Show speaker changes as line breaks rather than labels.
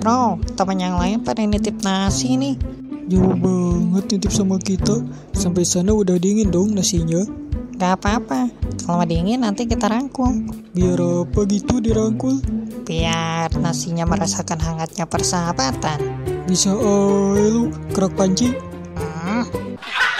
Bro, teman yang lain pada nitip nasi nih.
Jauh banget nitip sama kita. Sampai sana udah dingin dong nasinya.
Gak apa-apa, kalau dingin nanti kita rangkum.
Biar apa gitu dirangkul?
Biar nasinya merasakan hangatnya persahabatan.
Bisa aja lu kerak panci.
Hmm.